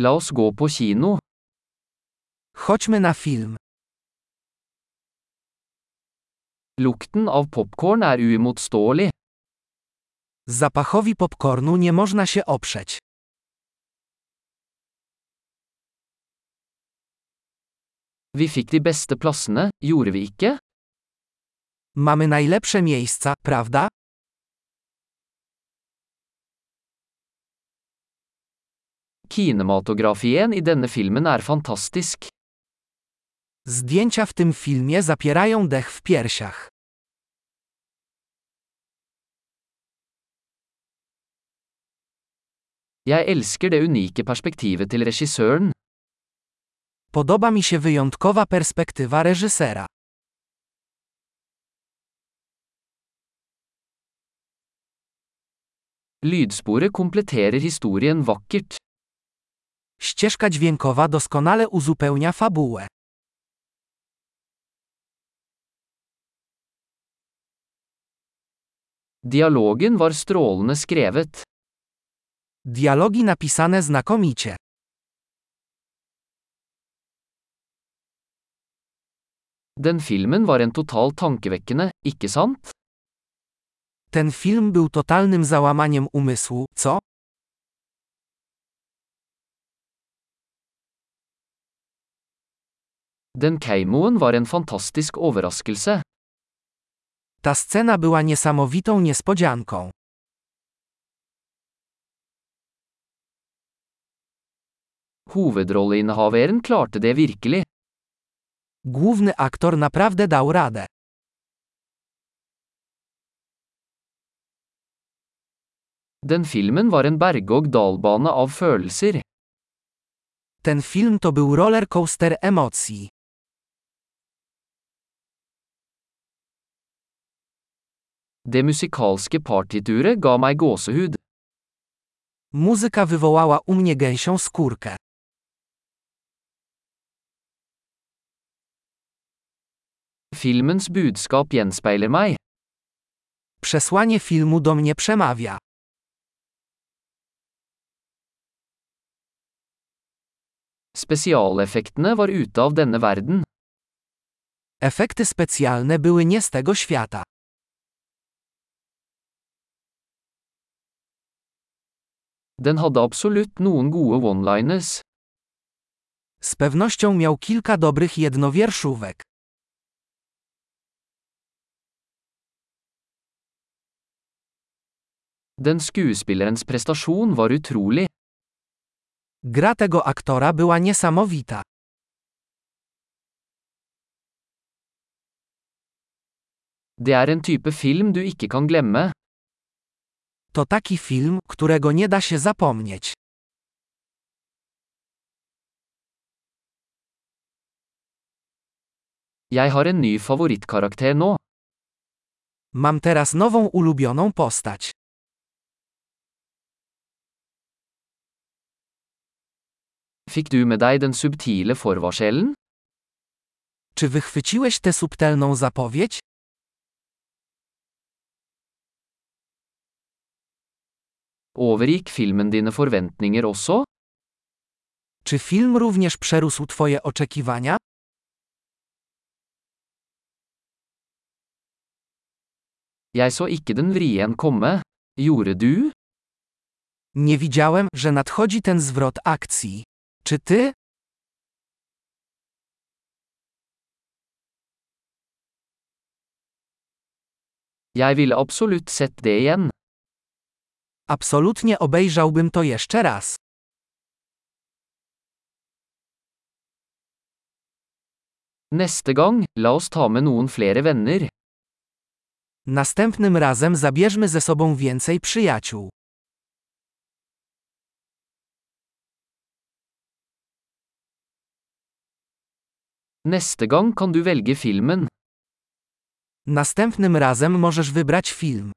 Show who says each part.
Speaker 1: La oss gå på kino.
Speaker 2: Chodźmy na film.
Speaker 1: Lukten av popkorn er uimotståelig.
Speaker 2: Zapachowi popcornu nie można się oprzeć.
Speaker 1: Vi fikk de beste plassene, gjorde vi ikke?
Speaker 2: Mamy najlepsze miejsca, prawda?
Speaker 1: Kinematografien i denne filmen er fantastisk.
Speaker 2: Zdjęcia w tym filmie zapierają dech w piersiach.
Speaker 1: Jeg elsker det unike perspektivet til regissøren.
Speaker 2: Podoba mi się wyjątkowa perspektywa reżysera.
Speaker 1: Lydsporet kompletterer historien vakkert.
Speaker 2: Ścieżka dźwiękowa doskonale uzupełnia fabułę.
Speaker 1: Dialogen var strålende skrevet.
Speaker 2: Dialogi napisane znakomicie.
Speaker 1: Den filmen var en total tankevekkende, ikke sant?
Speaker 2: Ten film był totalnym załamaniem umysłu, co?
Speaker 1: Den keimoen var en fantastisk overraskelse.
Speaker 2: Ta scena była niesamowitą niespodzianką.
Speaker 1: Hovedrolleinnehaveren klarte det virkelig.
Speaker 2: Główny aktor naprawdę dał radę.
Speaker 1: Den filmen var en berg-og-dal-bane av følelser.
Speaker 2: Ten film to był roller coaster emocji.
Speaker 1: Det musikalske partituret ga meg gåsehud.
Speaker 2: Muzyka wywołała u mnie gęsią skórkę.
Speaker 1: Filmens budskap gjenspeiler meg.
Speaker 2: Przesłanie filmu do mnie przemawia.
Speaker 1: Spesialeffektene var ute av denne verden.
Speaker 2: Efekty specjalne były nie z tego świata.
Speaker 1: Den hadde absolutt noen gode one-liners.
Speaker 2: Z pewnością miał kilka dobrych jednowierszówek.
Speaker 1: Den skuespillerens prestasjon var utrolig.
Speaker 2: Gra tego aktora była niesamowita.
Speaker 1: Det er en type film du ikke kan glemme.
Speaker 2: To taki film, którego nie da się zapomnieć.
Speaker 1: Jeg har en ny favorittkarakter nå.
Speaker 2: Mam teraz nową ulubioną postać.
Speaker 1: Fikk du med deg den subtile forvarselen?
Speaker 2: Czy wychwyciłeś tę subtelną zapowiedź?
Speaker 1: Overgikk filmen dine forventninger også?
Speaker 2: Czy film również przerósł Twoje oczekiwania?
Speaker 1: Jeg så ikke den vrien komme. Gjorde du?
Speaker 2: Nie widziałem, że nadchodzi ten zwrot akcji. Czy ty?
Speaker 1: Jeg ville absolutt sett det igjen.
Speaker 2: Absolutnie obejrzałbym to jeszcze raz.
Speaker 1: Neste gang, la oss ta med noen flere venner.
Speaker 2: Następnym razem zabierzmy ze sobą więcej przyjaciół.
Speaker 1: Neste gang kan du velge filmen.
Speaker 2: Następnym razem możesz wybrać film.